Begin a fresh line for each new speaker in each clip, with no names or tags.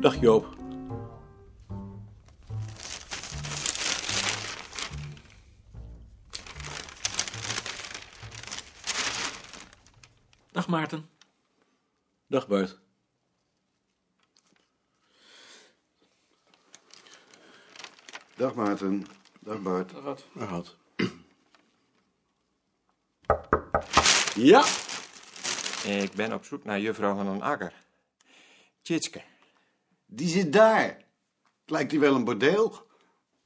Joop.
Dag Maarten.
Dag Bart.
Dag Maarten. Dag Bart.
Waar had? Ja,
Ik ben op zoek naar juffrouw van den Akker. Tjitske.
Die zit daar. Het lijkt hier wel een bordeel.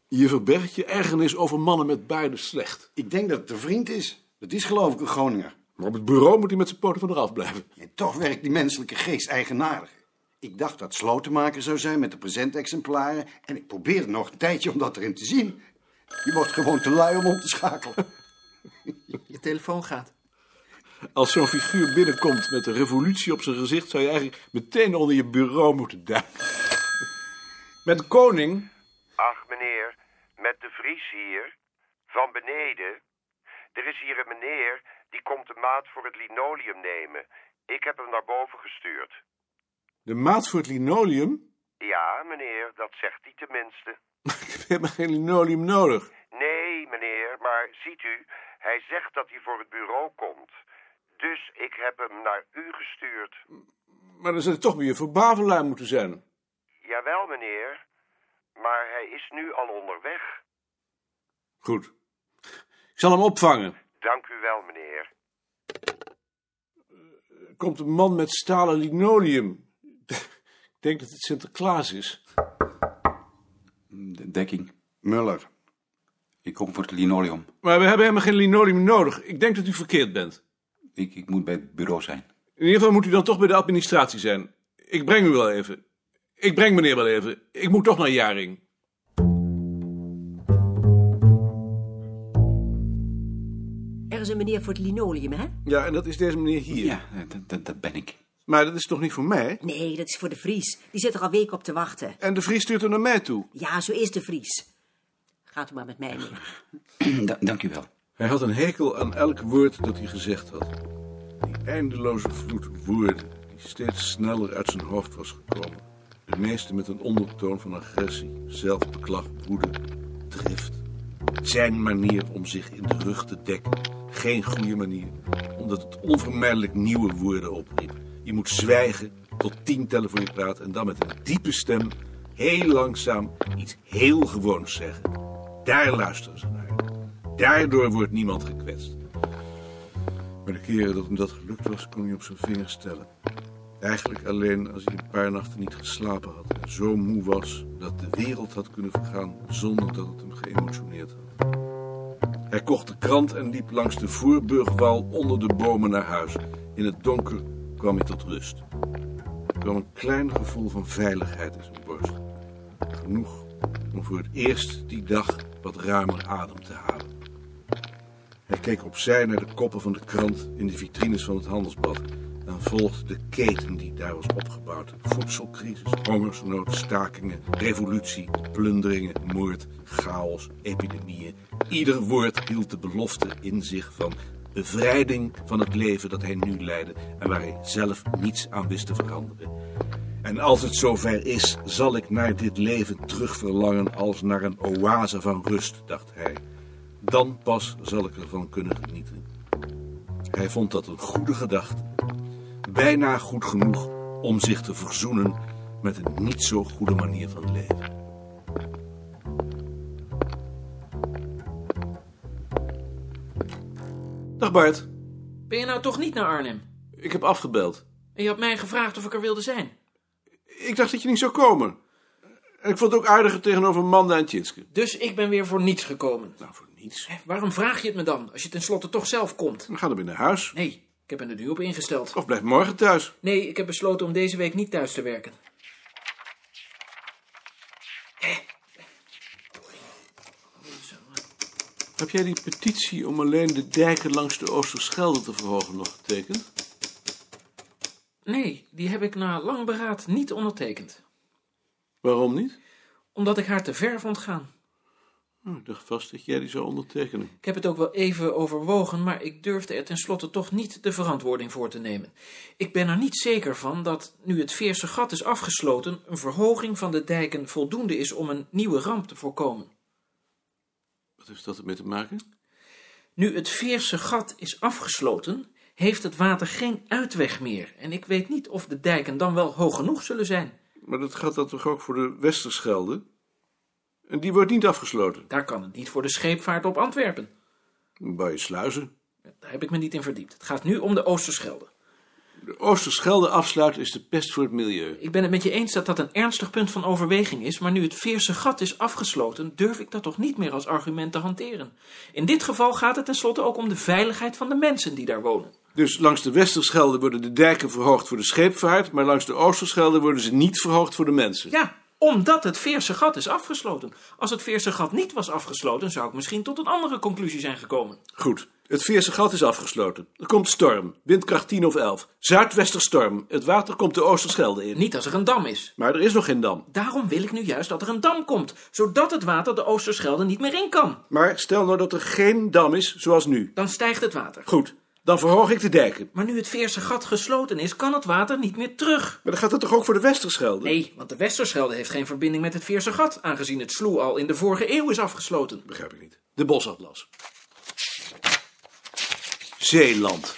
je verbergt je ergernis over mannen met baarden slecht.
Ik denk dat het een vriend is. Dat is geloof ik een Groninger.
Maar op het bureau moet hij met zijn poten van eraf blijven.
En toch werkt die menselijke geest eigenaardig. Ik dacht dat slotenmaker zou zijn met de presentexemplaren. En ik probeerde nog een tijdje om dat erin te zien. Je wordt gewoon te lui om om te schakelen.
Je telefoon gaat.
Als zo'n figuur binnenkomt met een revolutie op zijn gezicht... zou je eigenlijk meteen onder je bureau moeten duiken. Met koning?
Ach, meneer, met de Vries hier. Van beneden. Er is hier een meneer die komt de maat voor het linoleum nemen. Ik heb hem naar boven gestuurd.
De maat voor het linoleum?
Ja, meneer, dat zegt hij tenminste.
Ik heb helemaal geen linoleum nodig.
Nee, meneer, maar ziet u, hij zegt dat hij voor het bureau komt. Dus ik heb hem naar u gestuurd.
Maar dan zou het toch weer voor Bavelaar moeten zijn.
Jawel, meneer. Maar hij is nu al onderweg.
Goed. Ik zal hem opvangen.
Dank u wel, meneer.
Er komt een man met stalen linoleum. Ik denk dat het Sinterklaas is.
De dekking.
Muller.
Ik kom voor het linoleum.
Maar we hebben helemaal geen linoleum nodig. Ik denk dat u verkeerd bent.
Ik, ik moet bij het bureau zijn.
In ieder geval moet u dan toch bij de administratie zijn. Ik breng u wel even. Ik breng meneer wel even. Ik moet toch naar Jaring.
Er is een meneer voor het linoleum, hè?
Ja, en dat is deze meneer hier.
Ja, dat, dat, dat ben ik.
Maar dat is toch niet voor mij?
Nee, dat is voor de Vries. Die zit er al weken op te wachten.
En de Vries stuurt hem naar mij toe.
Ja, zo is de Vries. Gaat u maar met mij mee.
Da- dank u wel.
Hij had een hekel aan elk woord dat hij gezegd had. Die eindeloze vloed woorden die steeds sneller uit zijn hoofd was gekomen. De meeste met een ondertoon van agressie, zelfbeklag, woede, drift. Zijn manier om zich in de rug te dekken. Geen goede manier, omdat het onvermijdelijk nieuwe woorden opriep. Je moet zwijgen tot tien tellen voor je praat en dan met een diepe stem heel langzaam iets heel gewoons zeggen. Daar luisteren ze naar. Daardoor wordt niemand gekwetst. Maar de keren dat hem dat gelukt was, kon hij op zijn vingers tellen. Eigenlijk alleen als hij een paar nachten niet geslapen had en zo moe was dat de wereld had kunnen vergaan zonder dat het hem geëmotioneerd had. Hij kocht de krant en liep langs de voorburgwal onder de bomen naar huis. In het donker kwam hij tot rust. Er kwam een klein gevoel van veiligheid in zijn borst. Genoeg om voor het eerst die dag wat ruimer adem te halen. Hij keek opzij naar de koppen van de krant in de vitrines van het handelsblad. En volgde de keten die daar was opgebouwd. Voedselcrisis, hongersnood, stakingen, revolutie, plunderingen, moord, chaos, epidemieën. Ieder woord hield de belofte in zich van bevrijding van het leven dat hij nu leidde en waar hij zelf niets aan wist te veranderen. En als het zover is, zal ik naar dit leven terugverlangen als naar een oase van rust, dacht hij. Dan pas zal ik ervan kunnen genieten. Hij vond dat een goede gedachte. Bijna goed genoeg om zich te verzoenen met een niet zo goede manier van leven. Dag Bart,
Ben je nou toch niet naar Arnhem?
ik heb afgebeld.
En je had mij gevraagd of ik er wilde zijn.
Ik dacht dat je niet zou komen. En ik vond het ook aardiger tegenover Manda en Tjitske.
Dus ik ben weer voor niets gekomen.
Nou, voor niets.
Eh.
Hè, Waarom vraag je het me dan, als je tenslotte toch zelf komt?
Dan ga dan weer naar huis.
Nee, ik heb me er nu op ingesteld.
Of blijf morgen thuis.
Nee, ik heb besloten om deze week niet thuis te werken. Hè? Zo,
Heb jij die petitie om alleen de dijken langs de Oosterschelde te verhogen nog getekend?
Nee, die heb ik na lang beraad niet ondertekend.
Waarom niet?
Omdat ik haar te ver vond gaan.
Oh, ik dacht vast dat jij die zou ondertekenen.
Ik heb het ook wel even overwogen, maar ik durfde er tenslotte toch niet de verantwoording voor te nemen. Ik ben er niet zeker van dat, nu het Veerse gat is afgesloten, een verhoging van de dijken voldoende is om een nieuwe ramp te voorkomen.
Wat heeft dat ermee te maken?
Nu het Veerse gat is afgesloten, heeft het water geen uitweg meer. En ik weet niet of de dijken dan wel hoog genoeg zullen zijn.
Maar dat gaat dan toch ook voor de Westerschelde? En die wordt niet afgesloten.
Daar kan het niet voor de scheepvaart op Antwerpen.
Dan bouw je sluizen.
Daar heb ik me niet in verdiept. Het gaat nu om de Oosterschelde.
De Oosterschelde afsluiten is de pest voor het milieu.
Ik ben het met je eens dat dat een ernstig punt van overweging is, maar nu het Veerse gat is afgesloten, durf ik dat toch niet meer als argument te hanteren. In dit geval gaat het tenslotte ook om de veiligheid van de mensen die daar wonen.
Dus langs de Westerschelde worden de dijken verhoogd voor de scheepvaart, maar langs de Oosterschelde worden ze niet verhoogd voor de mensen.
Ja, omdat het Veerse gat is afgesloten. Als het Veerse gat niet was afgesloten, zou ik misschien tot een andere conclusie zijn gekomen.
Goed. Het Veerse gat is afgesloten. Er komt storm, windkracht 10 of 11. Zuidwesterstorm. Het water komt de Oosterschelde in.
Niet als er een dam is.
Maar er is nog geen dam.
Daarom wil ik nu juist dat er een dam komt, zodat het water de Oosterschelde niet meer in kan.
Maar stel nou dat er geen dam is, zoals nu.
Dan stijgt het water.
Goed, dan verhoog ik de dijken.
Maar nu het Veerse gat gesloten is, kan het water niet meer terug.
Maar dan gaat dat toch ook voor de Westerschelde?
Nee, want de Westerschelde heeft geen verbinding met het Veerse gat, aangezien het sloe al in de vorige eeuw is afgesloten.
Begrijp ik niet. De bosatlas. Zeeland.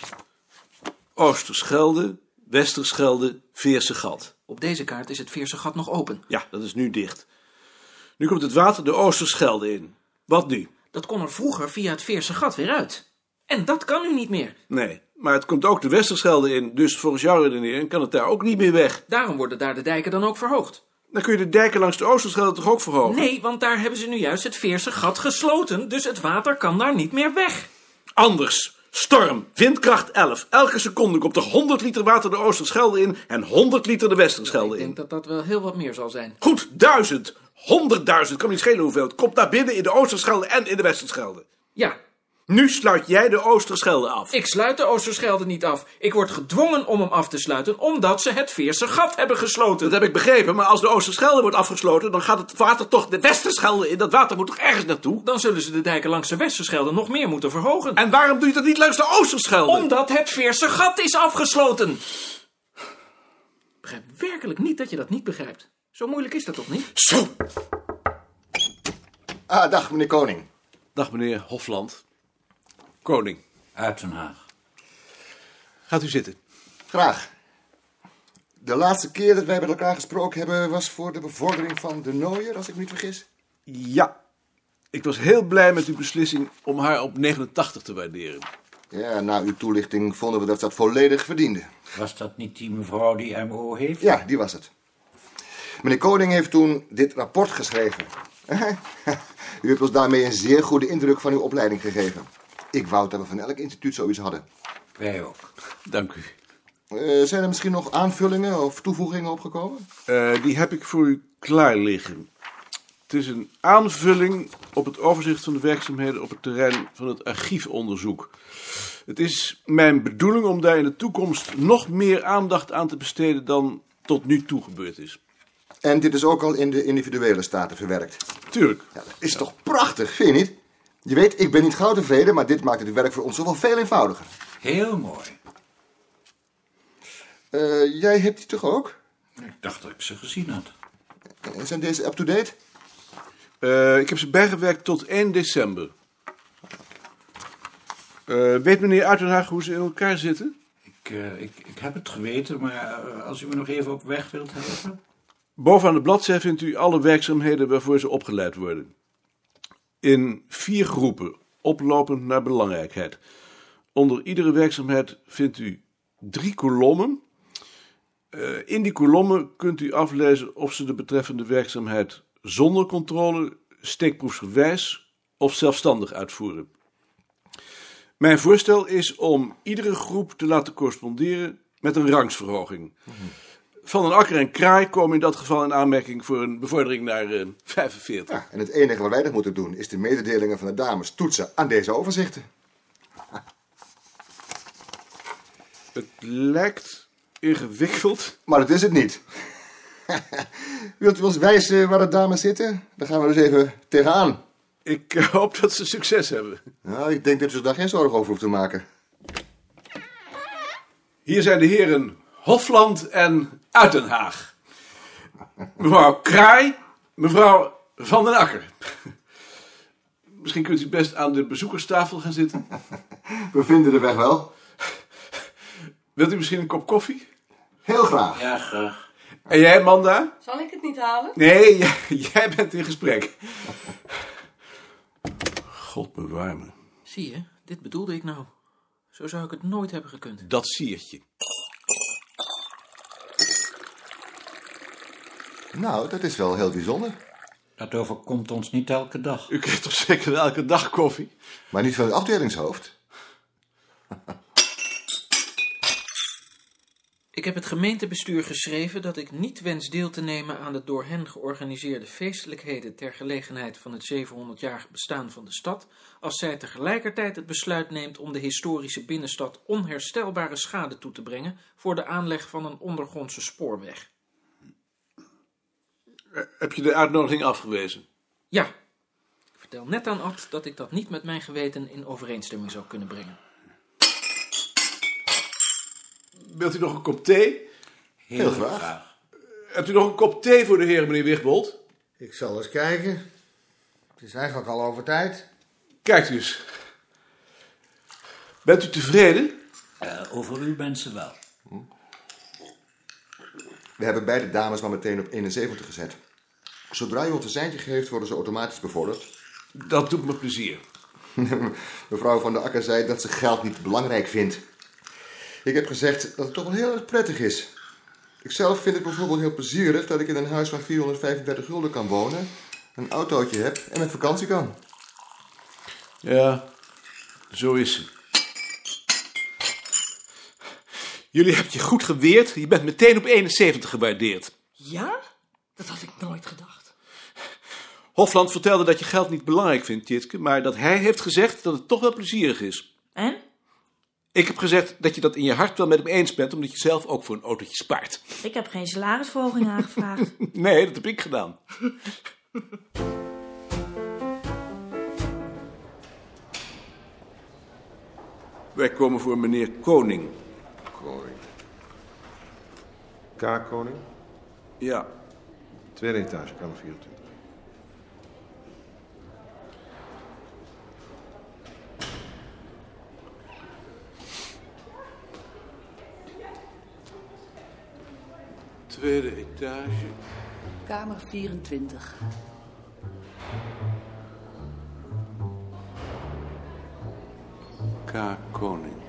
Oosterschelde, Westerschelde, Veerse gat.
Op deze kaart is het Veerse gat nog open.
Ja, dat is nu dicht. Nu komt het water de Oosterschelde in. Wat nu?
Dat kon er vroeger via het Veerse gat weer uit. En dat kan nu niet meer.
Nee, maar het komt ook de Westerschelde in. Dus volgens jouw redenering kan het daar ook niet meer weg.
Daarom worden daar de dijken dan ook verhoogd.
Dan kun je de dijken langs de Oosterschelde toch ook verhogen?
Nee, want daar hebben ze nu juist het Veerse gat gesloten, dus het water kan daar niet meer weg.
Anders. Storm, windkracht 11. Elke seconde komt er 100 liter water de Oosterschelde in en 100 liter de Westerschelde
Ik
in.
denk dat dat wel heel wat meer zal zijn.
Goed, duizend. Honderdduizend, kan niet schelen hoeveel. Het komt naar binnen in de Oosterschelde en in de Westerschelde.
Ja,
Nu sluit jij de Oosterschelde af.
ik sluit de Oosterschelde niet af. Ik word gedwongen om hem af te sluiten, omdat ze het Veerse gat hebben gesloten.
Dat heb ik begrepen, maar als de Oosterschelde wordt afgesloten, dan gaat het water toch de Westerschelde in. Dat water moet toch ergens naartoe?
Dan zullen ze de dijken langs de Westerschelde nog meer moeten verhogen.
En waarom doe je dat niet langs de Oosterschelde?
Omdat het Veerse gat is afgesloten. Ik begrijp werkelijk niet dat je dat niet begrijpt. Zo moeilijk is dat toch niet?
Zo.
Ah, dag meneer Koning.
Dag meneer Hofland. Koning,
Uit Den Haag.
gaat u zitten.
Graag. De laatste keer dat wij met elkaar gesproken hebben was voor de bevordering van de Nooier, als ik me niet vergis.
Ja, ik was heel blij met uw beslissing om haar op 89 te waarderen.
Ja, na uw toelichting vonden we dat dat volledig verdiende.
Was dat niet die mevrouw die MO heeft?
Ja, die was het. Meneer Koning heeft toen dit rapport geschreven. U hebt ons daarmee een zeer goede indruk van uw opleiding gegeven. Ik wou dat we van elk instituut zoiets hadden.
Wij ook.
Dank u.
Eh, zijn er misschien nog aanvullingen of toevoegingen opgekomen?
Eh, die heb ik voor u klaar liggen. Het is een aanvulling op het overzicht van de werkzaamheden op het terrein van het archiefonderzoek. Het is mijn bedoeling om daar in de toekomst nog meer aandacht aan te besteden dan tot nu toe gebeurd is.
En dit is ook al in de individuele staten verwerkt.
Tuurlijk.
Ja, dat is toch prachtig, vind je niet? Je weet, ik ben niet gauw tevreden, maar dit maakt het werk voor ons toch wel veel eenvoudiger.
Heel mooi.
Eh, jij hebt die toch ook?
Ik dacht dat ik ze gezien had.
Eh, Zijn deze up-to-date?
Eh, ik heb ze bijgewerkt tot 1 december. Eh, weet meneer Uitenhaag hoe ze in elkaar zitten?
Ik, eh, ik, ik heb het geweten, maar eh, als u me nog even op weg wilt helpen.
Bovenaan de bladzij vindt u alle werkzaamheden waarvoor ze opgeleid worden. In vier groepen, oplopend naar belangrijkheid. Onder iedere werkzaamheid vindt u drie kolommen. Eh, in die kolommen kunt u aflezen of ze de betreffende werkzaamheid zonder controle, steekproefsgewijs of zelfstandig uitvoeren. Mijn voorstel is om iedere groep te laten corresponderen met een rangsverhoging. Van een Akker en Kraai komen in dat geval in aanmerking voor een bevordering naar eh, 45.
Ja, en het enige wat wij nog moeten doen is de mededelingen van de dames toetsen aan deze overzichten.
Het lijkt ingewikkeld.
Maar dat is het niet. Wilt u ons wijzen waar de dames zitten? Dan gaan we dus even tegenaan.
Ik hoop dat ze succes hebben.
Nou, ik denk dat je daar geen zorgen over hoeft te maken.
Hier zijn de heren Hofland en Uitenhaag. Mevrouw Kraai, mevrouw Van den Akker. Misschien kunt u best aan de bezoekerstafel gaan zitten.
We vinden de weg wel.
Wilt u misschien een kop koffie?
Heel graag.
Ja, graag.
En jij, Manda?
Zal ik het niet halen?
Nee, jij, jij bent in gesprek. God bewaar me.
Zie je, dit bedoelde ik nou. Zo zou ik het nooit hebben gekund.
Dat siertje.
Nou, dat is wel heel bijzonder.
Dat overkomt ons niet elke dag.
U krijgt toch zeker elke dag koffie?
Maar niet van het afdelingshoofd.
Ik heb het gemeentebestuur geschreven dat ik niet wens deel te nemen aan de door hen georganiseerde feestelijkheden ter gelegenheid van het 700-jarig bestaan van de stad, als zij tegelijkertijd het besluit neemt om de historische binnenstad onherstelbare schade toe te brengen voor de aanleg van een ondergrondse spoorweg.
Heb je de uitnodiging afgewezen?
Ja, ik vertel net aan Ad dat ik dat niet met mijn geweten in overeenstemming zou kunnen brengen.
Wilt u nog een kop thee?
Heel graag.
Hebt u nog een kop thee voor de heren, meneer Wigbold?
Ik zal eens kijken. Het is eigenlijk al over tijd.
Kijkt u eens. Bent u tevreden?
Eh, over u mensen wel.
We hebben beide dames maar meteen op 71 gezet. Zodra je ons een seintje geeft, worden ze automatisch bevorderd.
Dat doet me plezier.
Mevrouw van der Akker zei dat ze geld niet belangrijk vindt. Ik heb gezegd dat het toch wel heel erg prettig is. Ikzelf vind het bijvoorbeeld heel plezierig dat ik in een huis van 435 gulden kan wonen, een autootje heb en met vakantie kan.
Ja, zo is ze. Jullie hebben je goed geweerd. Je bent meteen op 71 gewaardeerd.
Ja? Dat had ik nooit gedacht.
Hofland vertelde dat je geld niet belangrijk vindt, Tjitske, maar dat hij heeft gezegd dat het toch wel plezierig is.
En?
Ik heb gezegd dat je dat in je hart wel met hem eens bent, omdat je zelf ook voor een autootje spaart.
Ik heb geen salarisverhoging aangevraagd.
Nee, dat heb ik gedaan. Wij komen voor meneer Koning.
Koning. K-koning?
Ja,
Tweede etage, kamer 24.
tweede etage.
Kamer 24.
K. Koning.